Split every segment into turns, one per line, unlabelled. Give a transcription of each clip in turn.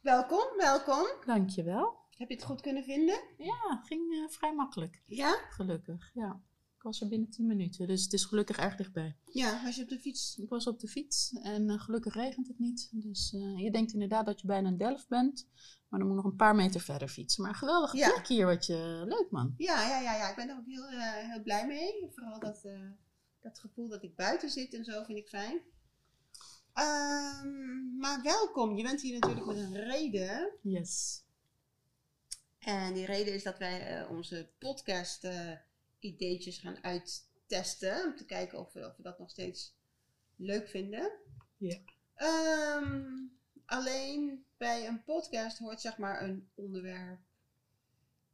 Welkom, welkom.
Dankjewel.
Heb je het goed kunnen vinden?
Ja, ging eh, vrij makkelijk.
Ja?
Gelukkig, ja. Ik was er binnen 10 minuten, dus het is gelukkig erg dichtbij.
Ja, was je op de fiets?
Ik was op de fiets en eh, gelukkig regent het niet. Dus eh, je denkt inderdaad dat je bijna in Delft bent, maar dan moet je nog een paar meter verder fietsen. Maar geweldig
Ja.
plek hier, wat je... Leuk man.
Ja, ja, ja, ja. Ik ben er ook heel, eh, heel blij mee. Vooral dat, eh, dat gevoel dat ik buiten zit en zo vind ik fijn. Ehm, maar welkom. Je bent hier natuurlijk met een reden.
Yes.
En die reden is dat wij eh, onze podcast eh, ideetjes gaan uittesten. Om te kijken of we, of we dat nog steeds leuk vinden.
Ja.
Ehm, alleen bij een podcast hoort zeg maar een onderwerp.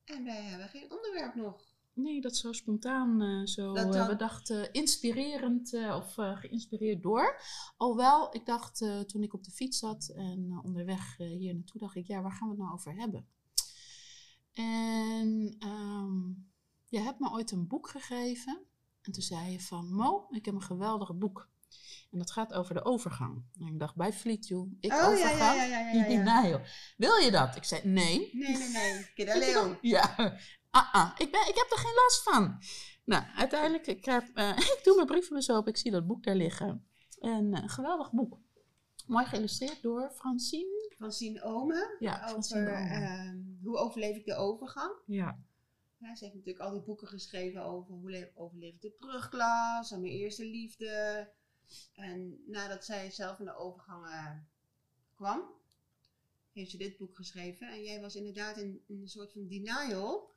En wij hebben geen onderwerp nog.
Nee, dat zo spontaan eh, zo.
Dat
eh,
dan-
we dachten inspirerend eh, of eh, geïnspireerd door. Alhoewel, ik dacht eh, toen ik op de fiets zat en eh, onderweg eh, hier naartoe, dacht ik, ja, waar gaan we het nou over hebben? En ehm, je hebt me ooit een boek gegeven. En toen zei je van, Mo, ik heb een geweldig boek. En dat gaat over de overgang. En ik dacht, bij Fleet You, ik
Oh, ja,
overgang.
ja, ja, ja, ja, ja.
Nou, joh. Wil je dat? Ik zei, nee.
Nee, nee, nee. Kidda Leon.
Ja, ah, ah. Ik, ben, ik heb er geen last van. Nou, uiteindelijk, ik, heb, eh, ik doe mijn brievenbus op, ik zie dat boek daar liggen. Een eh, geweldig boek. Mooi geïllustreerd door Francine.
Van Sien Omen.
Ja, Francine.
Over
de Oude.
ehm, hoe overleef ik de overgang.
ja.
Ja, ze heeft natuurlijk al die boeken geschreven over hoe le- overleef ik de brugklas en mijn eerste liefde. En nadat zij zelf in de overgang eh, kwam, heeft ze dit boek geschreven. En jij was inderdaad in, in een soort van denial.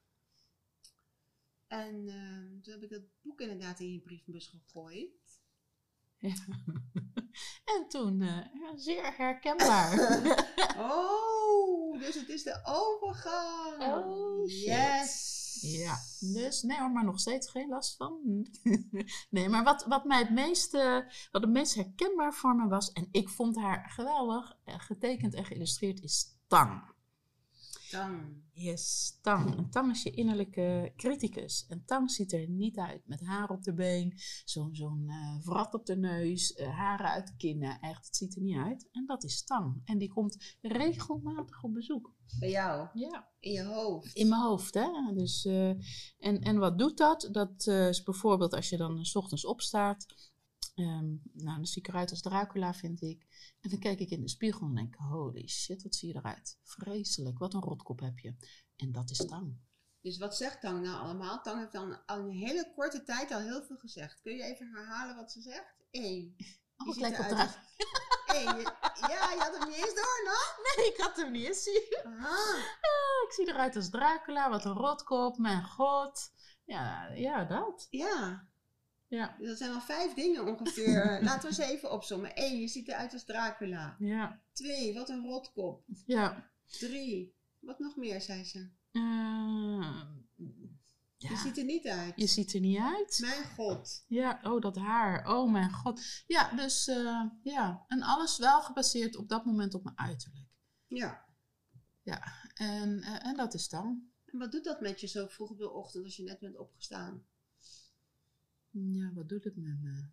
En eh, toen heb ik dat boek inderdaad in je brievenbus gegooid.
En toen, eh, zeer herkenbaar.
Oh, dus het is de overgang.
Oh, shit.
yes.
Ja, dus nee hoor, maar nog steeds geen last van. nee, maar wat, wat mij het meest, eh, wat het meest herkenbaar voor me was, en ik vond haar geweldig, eh, getekend en geïllustreerd, is Tang.
Dan.
Yes, Tang. En Tang is je innerlijke criticus. En Tang ziet er niet uit met haar op de been, zo'n zo'n eh, wrat op de neus, eh, haren uit de kinnen. Echt, het ziet er niet uit. En dat is Tang. En die komt regelmatig op bezoek.
Bij jou,
Ja
in je hoofd.
in mijn hoofd. Hè? Dus, eh, en, en wat doet dat? Dat eh, is bijvoorbeeld als je dan eh, 's ochtends opstaat. ehm, nou, dan zie ik eruit als Dracula, vind ik. En dan kijk ik in de spiegel en denk: holy shit, wat zie je eruit? Vreselijk, wat een rotkop heb je. En dat is tang.
Dus wat zegt Tang nou allemaal? Tang heeft dan al een hele korte tijd al heel veel gezegd. Kun je even herhalen wat ze zegt? Eén. Je
Oh, ik
ziet
lijk op
eruit
Dra-
als- Eén. je- Ja, je had hem niet eens door, no?
Nee, ik had hem niet eens zien.
Aha.
Ah, Ik zie eruit als Dracula, wat een rotkop, mijn god. Ja, ja dat.
Ja.
Ja.
Dus dat zijn al vijf dingen ongeveer. Laten we eens even opzommen. Eén, je ziet eruit als Dracula.
Ja,
Twee, wat een rotkop.
ja.
Drie, wat nog meer, zei ze.
Eh,
Je
ja.
ziet er niet uit.
Je ziet er niet uit.
Mijn god.
Ja, oh, dat haar. Oh, mijn god. Ja, dus eh, ja. En alles wel gebaseerd op dat moment op mijn uiterlijk.
Ja.
En, eh, en dat is dan.
En wat doet dat met je zo vroeg op de ochtend als je net bent opgestaan?
Ja, wat doet het met me?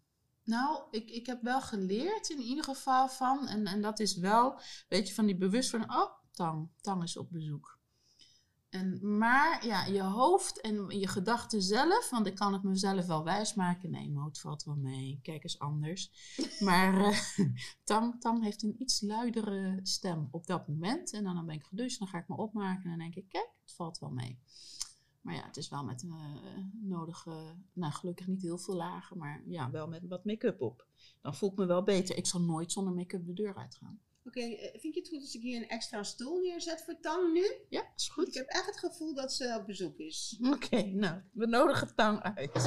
Nou, ik, ik heb wel geleerd in ieder geval van. En, en dat is wel, weet je, van die bewustwording. Oh, Tang. Tang is op bezoek. En, maar ja, je hoofd en je gedachten zelf, want ik kan het mezelf wel wijsmaken. Nee, Mo, het valt wel mee. Kijk eens anders. Maar eh, Tang, Tang heeft een iets luidere stem op dat moment. En dan, dan ben ik gedoucht, dan ga ik me opmaken en dan denk ik, kijk, het valt wel mee. Maar ja, het is wel met eh nodige, nou gelukkig niet heel veel lagen, maar ja, wel met wat make-up op. Dan voel ik me wel beter. Ik zal nooit zonder make-up de deur uitgaan.
Oké, eh, vind je het goed als ik hier een extra stoel neerzet voor Tang nu?
Ja, is
Want ik
goed.
heb echt het gevoel dat ze op bezoek is.
Oké, nou, we nodigen Tang uit.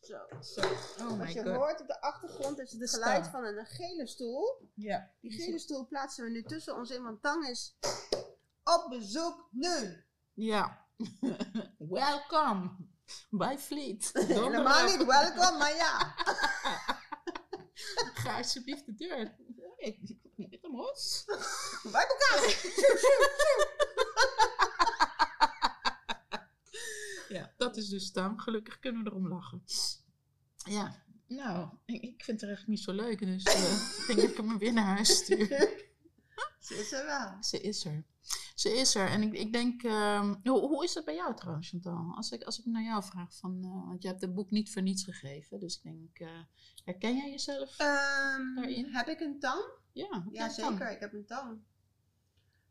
Zo, zo.
Oh
Wat
my
je
god.
hoort op de achtergrond is het
Staan.
geluid van een gele stoel.
Ja.
Die gele stoel plaatsen we nu tussen ons in, want Tang is op bezoek nu.
Ja. Welcome bij Fleet.
Helemaal niet welkom, maar ja.
Ga alsjeblieft de deur. Ik ik hem los.
Bij elkaar.
Ja, dat is dus dan. Gelukkig kunnen we erom lachen. Ja, nou, ik, ik vind het er echt niet zo leuk. Dus eh, ik denk dat ik hem weer naar huis stuur.
Ze is er wel.
Ze is er. Ze is er. En ik, ik denk, ehm, hoe, hoe is dat bij jou trouwens, Chantal? Als ik, als ik naar jou vraag, van, eh, want je hebt het boek niet voor niets gegeven. Dus ik denk, eh, herken jij jezelf?
Ehm,
Daarin?
heb ik een tang?
ja, heb jij
Ja,
het dan?
zeker. Ik heb een tang.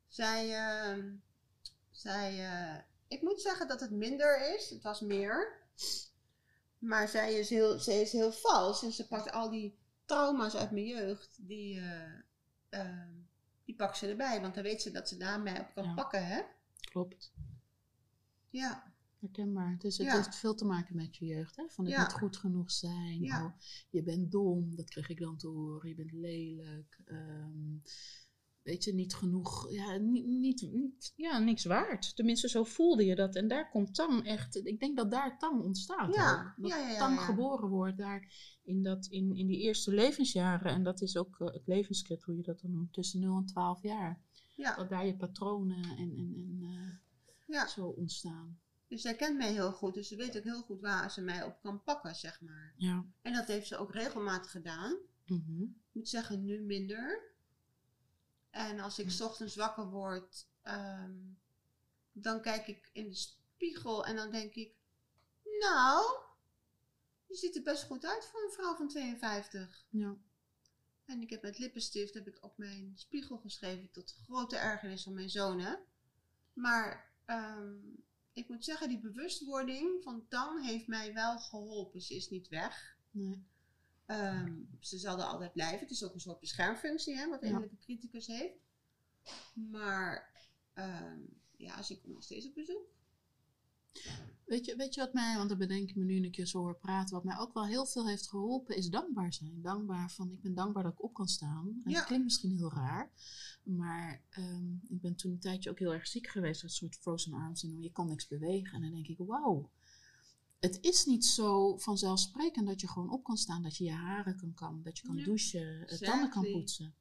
Zij, ehm, zij eh, ik moet zeggen dat het minder is. Het was meer. Maar zij is heel, zij is heel vals. En ze pakt al die trauma's uit mijn jeugd. Die, eh, ehm, die pakt ze erbij. Want dan weet ze dat ze daarmee op kan
Ja.
pakken, hè?
Klopt.
Ja.
Herkenbaar. Het, is, het
Ja.
heeft veel te maken met je jeugd. Hè? Van het
Ja.
niet goed genoeg zijn.
Ja.
Oh, je bent dom, dat kreeg ik dan te horen. Je bent lelijk. ehm, weet je, niet genoeg. Ja, niet, niet, niet, ja, niks waard. Tenminste, zo voelde je dat. En daar komt tang echt... Ik denk dat daar tang ontstaat
Ja,
ook. Dat
ja, ja, ja,
tang
ja.
geboren wordt daar in, dat, in, in die eerste levensjaren. En dat is ook eh, het levenscript, hoe je dat dan noemt. Tussen 0 en 12 jaar.
ja.
Dat daar je patronen en, en, en eh,
Ja.
zo ontstaan.
Dus zij kent mij heel goed. Dus ze weet ook heel goed waar ze mij op kan pakken, zeg maar.
Ja.
En dat heeft ze ook regelmatig gedaan.
Mhm.
Ik moet zeggen, nu minder. En als ik 's ochtends wakker word, ehm, dan kijk ik in de spiegel en dan denk ik, nou, je ziet er best goed uit voor een vrouw van 52.
Ja.
En ik heb met lippenstift heb ik op mijn spiegel geschreven tot grote ergernis van mijn zonen. Maar ehm, ik moet zeggen, die bewustwording van Tang heeft mij wel geholpen. Ze is niet weg.
Nee.
Ehm, ze zal er altijd blijven. Het is ook een soort beschermfunctie, hè, wat de
Ja.
innerlijke criticus heeft. Maar ehm, ja, ze komt nog steeds op bezoek.
Weet je, weet je wat mij, want dat bedenk ik me nu een keer zo hoor praten, wat mij ook wel heel veel heeft geholpen, is dankbaar zijn. Dankbaar van, ik ben dankbaar dat ik op kan staan. En
Ja.
dat klinkt misschien heel raar, maar ehm, ik ben toen een tijdje ook heel erg ziek geweest, dat soort frozen arms syndroom. Je kan niks bewegen. En dan denk ik, wauw. Het is niet zo vanzelfsprekend dat je gewoon op kan staan, dat je je haren kan kammen, dat je kan
Ja.
douchen, eh, tanden kan
Exactly.
poetsen.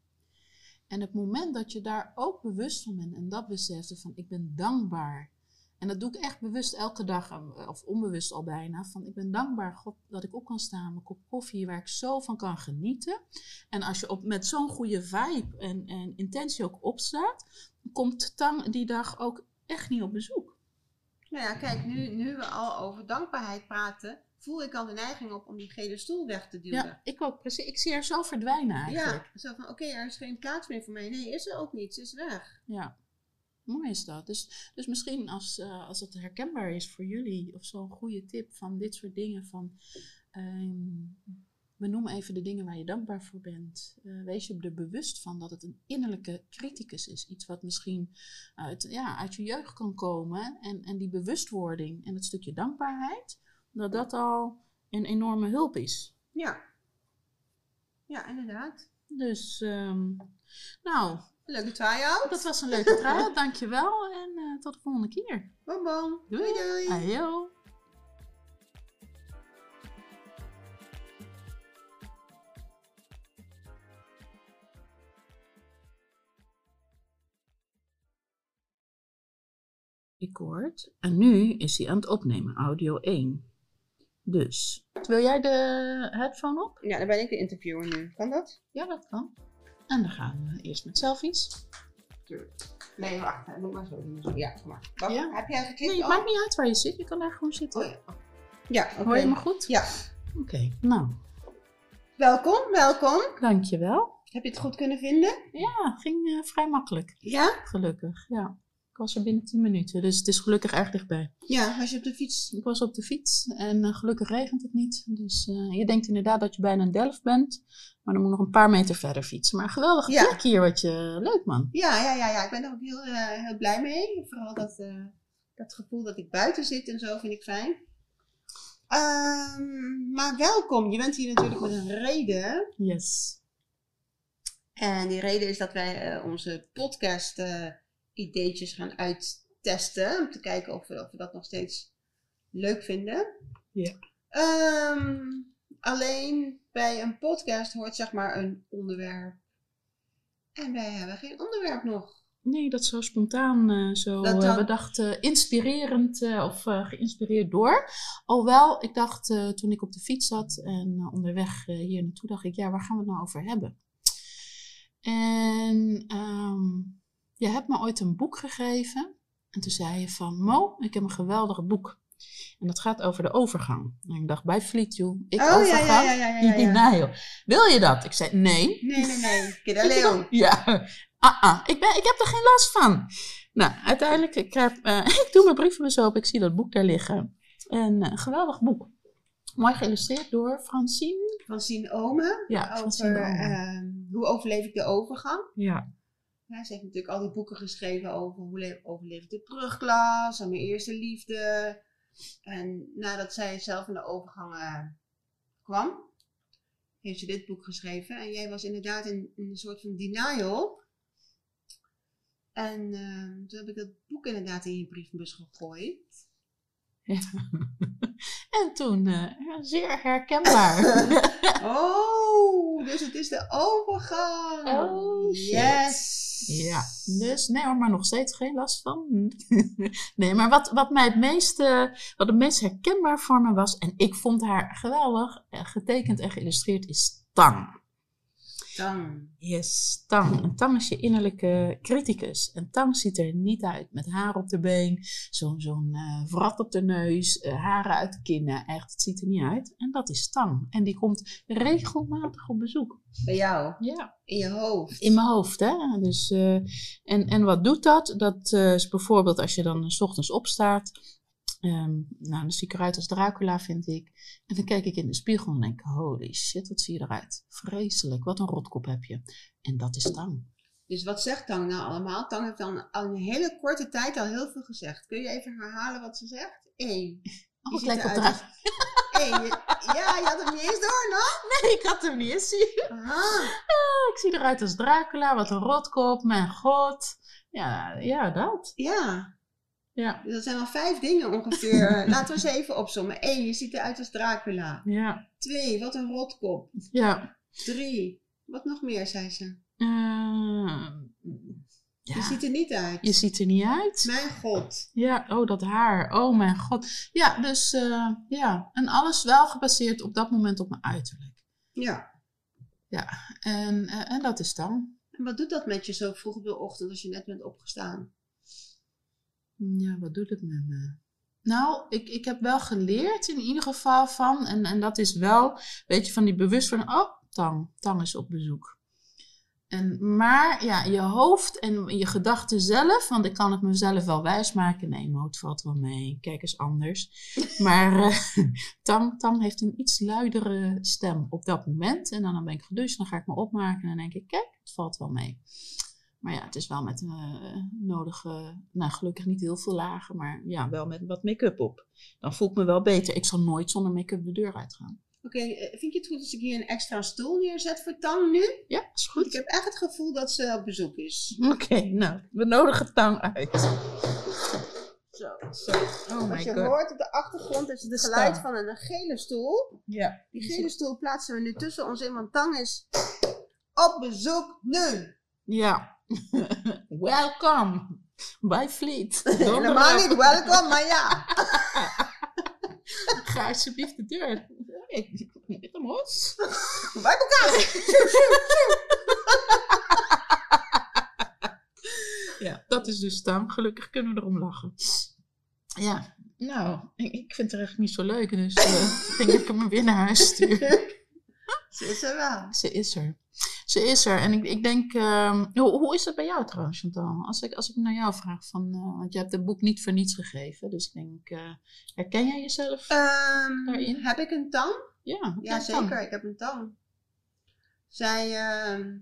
En het moment dat je daar ook bewust van bent en dat besefte van ik ben dankbaar. En dat doe ik echt bewust elke dag, eh, of onbewust al bijna. Van ik ben dankbaar God, dat ik op kan staan, mijn kop koffie, waar ik zo van kan genieten. En als je op, met zo'n goede vibe en, en intentie ook opstaat, dan komt Tang die dag ook echt niet op bezoek.
Nou ja, kijk, nu, nu we al over dankbaarheid praten, voel ik al de neiging op om die gele stoel weg te duwen.
Ja, ik ook precies. Ik zie haar zo verdwijnen
Ja,
eigenlijk.
zo van oké, er is geen plaats meer voor mij. Nee, is er ook niet. Ze is weg.
Ja. Mooi is dat. Dus, dus misschien als, eh, als het herkenbaar is voor jullie, of zo'n goede tip van dit soort dingen van. ehm, Benoem even de dingen waar je dankbaar voor bent. Eh, wees je er bewust van dat het een innerlijke criticus is. Iets wat misschien uit, ja, uit je jeugd kan komen. En, en die bewustwording en het stukje dankbaarheid, dat dat al een enorme hulp is.
Ja. Ja, inderdaad.
Dus, ehm, nou,
Leuke try-out.
dat was een leuke trial. Dankjewel en eh, tot de volgende keer.
Bom, bom. Doei, doei.
Ajo. Record. En nu is hij aan het opnemen, audio 1. Dus. Wil jij de headphone op?
Ja, dan ben ik de interviewer nu. Kan dat?
Ja, dat kan. En dan gaan we eerst met selfies.
Nee, wacht. hè. Moet maar zo doen. Ja, kom maar. Wacht,
Ja.
Heb jij geklikt?
Nee, het
al?
maakt niet uit waar je zit. Je kan daar gewoon zitten.
Oh ja. Ja, oké.
Hoor je me goed?
Ja.
Oké, nou.
Welkom, welkom.
Dankjewel.
Heb je het goed kunnen vinden?
Ja, ging eh, vrij makkelijk.
Ja?
Gelukkig, ja. Ik was er binnen 10 minuten, dus het is gelukkig erg dichtbij.
Ja, was je op de fiets?
Ik was op de fiets en eh, gelukkig regent het niet. Dus eh, je denkt inderdaad dat je bijna in Delft bent, maar dan moet je nog een paar meter verder fietsen. Maar geweldig
Ja.
plek hier, wat je... Leuk man.
Ja, ja, ja, ja. Ik ben er ook heel, eh, heel blij mee. Vooral dat, eh, dat gevoel dat ik buiten zit en zo vind ik fijn. Ehm, maar welkom. Je bent hier natuurlijk met een reden.
Yes.
En die reden is dat wij eh, onze podcast eh, ideetjes gaan uittesten. Om te kijken of we, of we dat nog steeds leuk vinden.
Ja.
Ehm, alleen bij een podcast hoort zeg maar een onderwerp. En wij hebben geen onderwerp nog.
Nee, dat zo spontaan, eh, zo
Dat
eh,
dan-
we dachten inspirerend eh, of eh, geïnspireerd door. Alhoewel, ik dacht eh, toen ik op de fiets zat en eh, onderweg eh, hier naartoe, dacht ik, ja, waar gaan we het nou over hebben? En ehm, Je hebt me ooit een boek gegeven. En toen zei je van, Mo, ik heb een geweldig boek. En dat gaat over de overgang. En ik dacht, bij Fleet, joh. Ik
Oh, ja, ja,
overgang?
ja, ja, ja, ja.
Nee, joh. Wil je dat? Ik zei, nee.
Nee, nee, nee. Kidda Leon.
Ja, ah, ah. Ik, ben, ik heb er geen last van. Nou, uiteindelijk, ik, heb, eh, ik doe mijn brievenbus open. Ik zie dat boek daar liggen. Een eh, geweldig boek. Mooi geïllustreerd door Francine.
Van Sien Omen.
Ja, Francine
Over
de Omen.
ehm, hoe overleef ik de overgang.
Ja,
Ja, ze heeft natuurlijk al die boeken geschreven over hoe le- overleef ik de brugklas en mijn eerste liefde. En nadat zij zelf in de overgang eh, kwam, heeft ze dit boek geschreven. En jij was inderdaad in, in een soort van denial. En eh, toen heb ik dat boek inderdaad in je brievenbus gegooid.
en toen eh, ja, zeer herkenbaar.
Oh, dus het is de overgang.
Oh, shit.
yes.
ja, dus nee hoor, maar nog steeds geen last van. nee, maar wat, wat mij het meest, eh, wat het meest herkenbaar voor me was, en ik vond haar geweldig, eh, getekend en geïllustreerd, is Tang.
Dan.
Yes, tang. Een tang is je innerlijke criticus. Een tang ziet er niet uit met haar op de been, zo'n zo'n eh, wrat op de neus, eh, haren uit de kinnen. Echt, het ziet er niet uit. En dat is tang. En die komt regelmatig op bezoek.
Bij jou,
Ja.
in je hoofd.
In mijn hoofd, hè. Dus, eh, en, en wat doet dat? Dat eh, is bijvoorbeeld als je dan eh, 's ochtends opstaat. ehm, nou, dan zie ik eruit als Dracula, vind ik. En dan kijk ik in de spiegel en denk, holy shit, wat zie je eruit. Vreselijk, wat een rotkop heb je. En dat is tang.
Dus wat zegt Tang nou allemaal? Tang heeft dan al een hele korte tijd al heel veel gezegd. Kun je even herhalen wat ze zegt? Eén.
Oh,
Je
ik
ziet
lijk op
eruit
draad.
Eén. Je- Ja, je had hem niet eens door, no?
Nee, ik had hem niet eens zien.
Aha.
Ah, Ik zie eruit als Dracula, wat een rotkop, mijn god. Ja, ja dat.
Ja.
Ja.
Dus dat zijn al vijf dingen ongeveer. Laten we ze even opzommen. Eén, je ziet eruit als Dracula.
Ja,
Twee, wat een rotkop.
ja.
Drie, wat nog meer, zei ze.
Eh, ja.
Je ziet er niet uit.
Je ziet er niet uit.
Mijn god.
Ja, oh, dat haar. Oh, mijn god. Ja, dus eh, ja. En alles wel gebaseerd op dat moment op mijn uiterlijk.
Ja.
En, eh, en dat is dan.
En wat doet dat met je zo vroeg op de ochtend als je net bent opgestaan?
Ja, wat doet het met me? Nou, ik, ik heb wel geleerd in ieder geval van, en, en dat is wel, weet je, van die bewustwording, oh, tang, tang is op bezoek. En, maar ja, je hoofd en je gedachten zelf, want ik kan het mezelf wel wijsmaken. Nee, Mo, het valt wel mee, kijk eens anders. Maar eh, tang, tang heeft een iets luidere stem op dat moment. En dan, dan ben ik gedust, dan ga ik me opmaken en dan denk ik, kijk, het valt wel mee. Maar ja, het is wel met eh nodige, nou gelukkig niet heel veel lagen, maar ja, wel met wat make-up op. Dan voel ik me wel beter. Ik zal nooit zonder make-up de deur uitgaan.
Oké, eh, vind je het goed als ik hier een extra stoel neerzet voor Tang nu?
Ja, is
Want ik
goed.
heb echt het gevoel dat ze op bezoek is.
Oké, nou, we nodigen tang uit.
Zo, zo.
Oh
Als
my
je
god.
hoort op de achtergrond is het
De
geluid van
stang.
een gele stoel.
Ja.
Die gele stoel plaatsen we nu tussen ons in, want Tang is op bezoek nu.
Ja. Welcome bij Fleet.
Helemaal niet welkom, maar ja.
Ga alsjeblieft de deur. Ik ben hem los.
Waar de
Ja, dat is dus dan. Gelukkig kunnen we erom lachen. Ja, nou, ik- ik vind het er echt niet zo leuk. Dus eh, ik denk dat ik hem weer naar huis stuur.
Ze is er wel.
Ze is er. Ze is er. En ik, ik denk, ehm, hoe, hoe is dat bij jou trouwens, Chantal? Als ik, als ik naar jou vraag, van, eh, want je hebt het boek niet voor niets gegeven. Dus ik denk, eh, herken jij jezelf?
Ehm,
Daarin?
heb ik een tang?
ja,
Ja,
dat kan.
zeker. Ik heb een tang. Zij, ehm,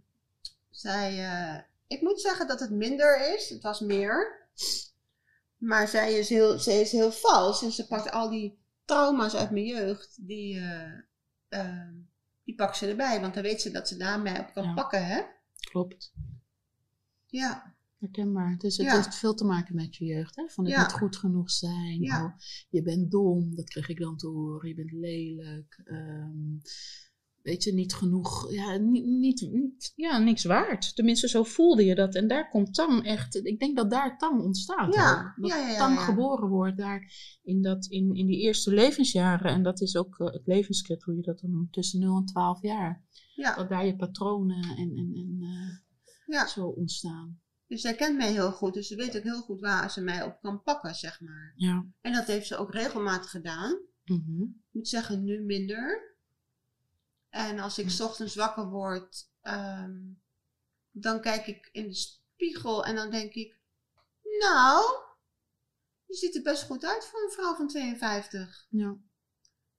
zij eh, ik moet zeggen dat het minder is. Het was meer. Maar zij is heel, zij is heel vals. En ze pakt al die trauma's uit mijn jeugd. Die, eh, ehm, die pakt ze erbij. Want dan weet ze dat ze daarmee op kan
Ja.
pakken, hè?
Klopt.
Ja.
Herkenbaar. Dus het
Ja.
heeft veel te maken met je jeugd. Hè? Van het
Ja.
niet goed genoeg zijn.
Ja.
Oh, je bent dom, dat kreeg ik dan te horen. Je bent lelijk. ehm, weet je, niet genoeg. Ja, niet, niet, niet, ja, niks waard. Tenminste, zo voelde je dat. En daar komt tang echt... Ik denk dat daar tang ontstaat.
Ja,
ook. Dat
ja, ja, ja,
tang
ja.
geboren wordt daar in, dat, in, in die eerste levensjaren. En dat is ook eh, het levenscript, hoe je dat dan noemt. Tussen 0 en 12 jaar.
Ja.
Dat daar je patronen en, en, en eh,
Ja.
zo ontstaan.
Dus zij kent mij heel goed, dus ze weet ook heel goed waar ze mij op kan pakken, zeg maar.
Ja.
En dat heeft ze ook regelmatig gedaan.
Mhm.
Ik moet zeggen, nu minder. En als ik 's ochtends wakker word, ehm, dan kijk ik in de spiegel en dan denk ik, nou, je ziet er best goed uit voor een vrouw van 52.
Ja.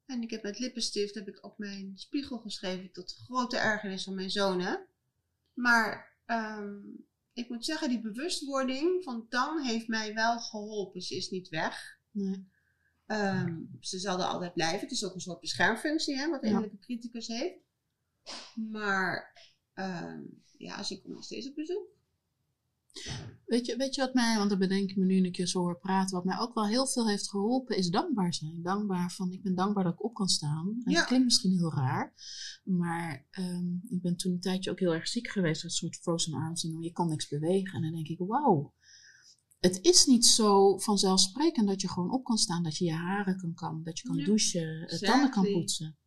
En ik heb met lippenstift heb ik op mijn spiegel geschreven tot grote ergernis van mijn zonen. Maar ehm, ik moet zeggen, die bewustwording van Tang heeft mij wel geholpen. Ze is niet weg.
Nee.
Ehm, ze zal er altijd blijven. Het is ook een soort beschermfunctie, hè, wat de
Ja.
innerlijke criticus heeft. Maar ehm, ja, ze komt nog steeds op bezoek.
Weet je, weet je wat mij, want dat bedenk ik me nu een keer zo hoor praten, wat mij ook wel heel veel heeft geholpen, is dankbaar zijn. Dankbaar van, ik ben dankbaar dat ik op kan staan. En
Ja.
Dat klinkt misschien heel raar, maar ehm, ik ben toen een tijdje ook heel erg ziek geweest, dat soort frozen arms en je kon niks bewegen. En dan denk ik, wauw. Het is niet zo vanzelfsprekend dat je gewoon op kan staan, dat je je haren kan kammen, dat je kan
Ja.
douchen, eh, tanden kan
Exactly.
poetsen.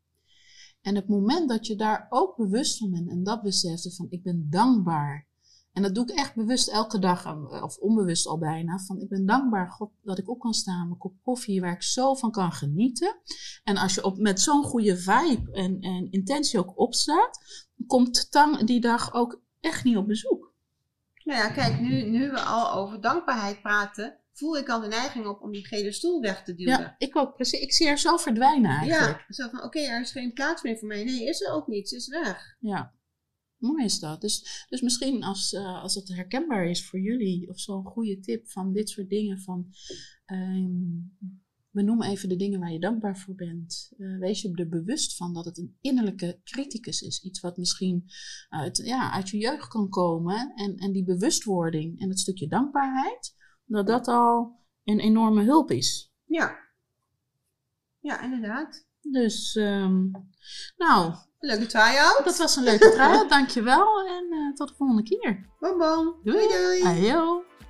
En het moment dat je daar ook bewust van bent en dat beseft van ik ben dankbaar en dat doe ik echt bewust elke dag, eh, of onbewust al bijna. Van ik ben dankbaar God, dat ik op kan staan, mijn kop koffie, waar ik zo van kan genieten. En als je op, met zo'n goede vibe en, en intentie ook opstaat, komt Tang die dag ook echt niet op bezoek.
Nou ja, kijk, nu, nu we al over dankbaarheid praten, voel ik al de neiging op om die gele stoel weg te duwen.
Ja, ik ook. Precies, ik zie haar zo verdwijnen eigenlijk.
Ja, zo van, oké, er is geen plaats meer voor mij. Nee, is er ook niet. Ze is weg.
Ja. Mooi is dat. Dus, dus misschien als, eh, als dat herkenbaar is voor jullie, of zo'n goede tip van dit soort dingen van... ehm, Benoem even de dingen waar je dankbaar voor bent. Eh, wees je er bewust van dat het een innerlijke criticus is. Iets wat misschien uit, ja, uit je jeugd kan komen. En, en die bewustwording en het stukje dankbaarheid, dat dat al een enorme hulp is.
Ja. Ja, inderdaad.
Dus, ehm, nou,
Leuke try-out.
dat was een leuke trial. Dankjewel en eh, tot de volgende keer.
Bonbon. Doei doei.
Ajo.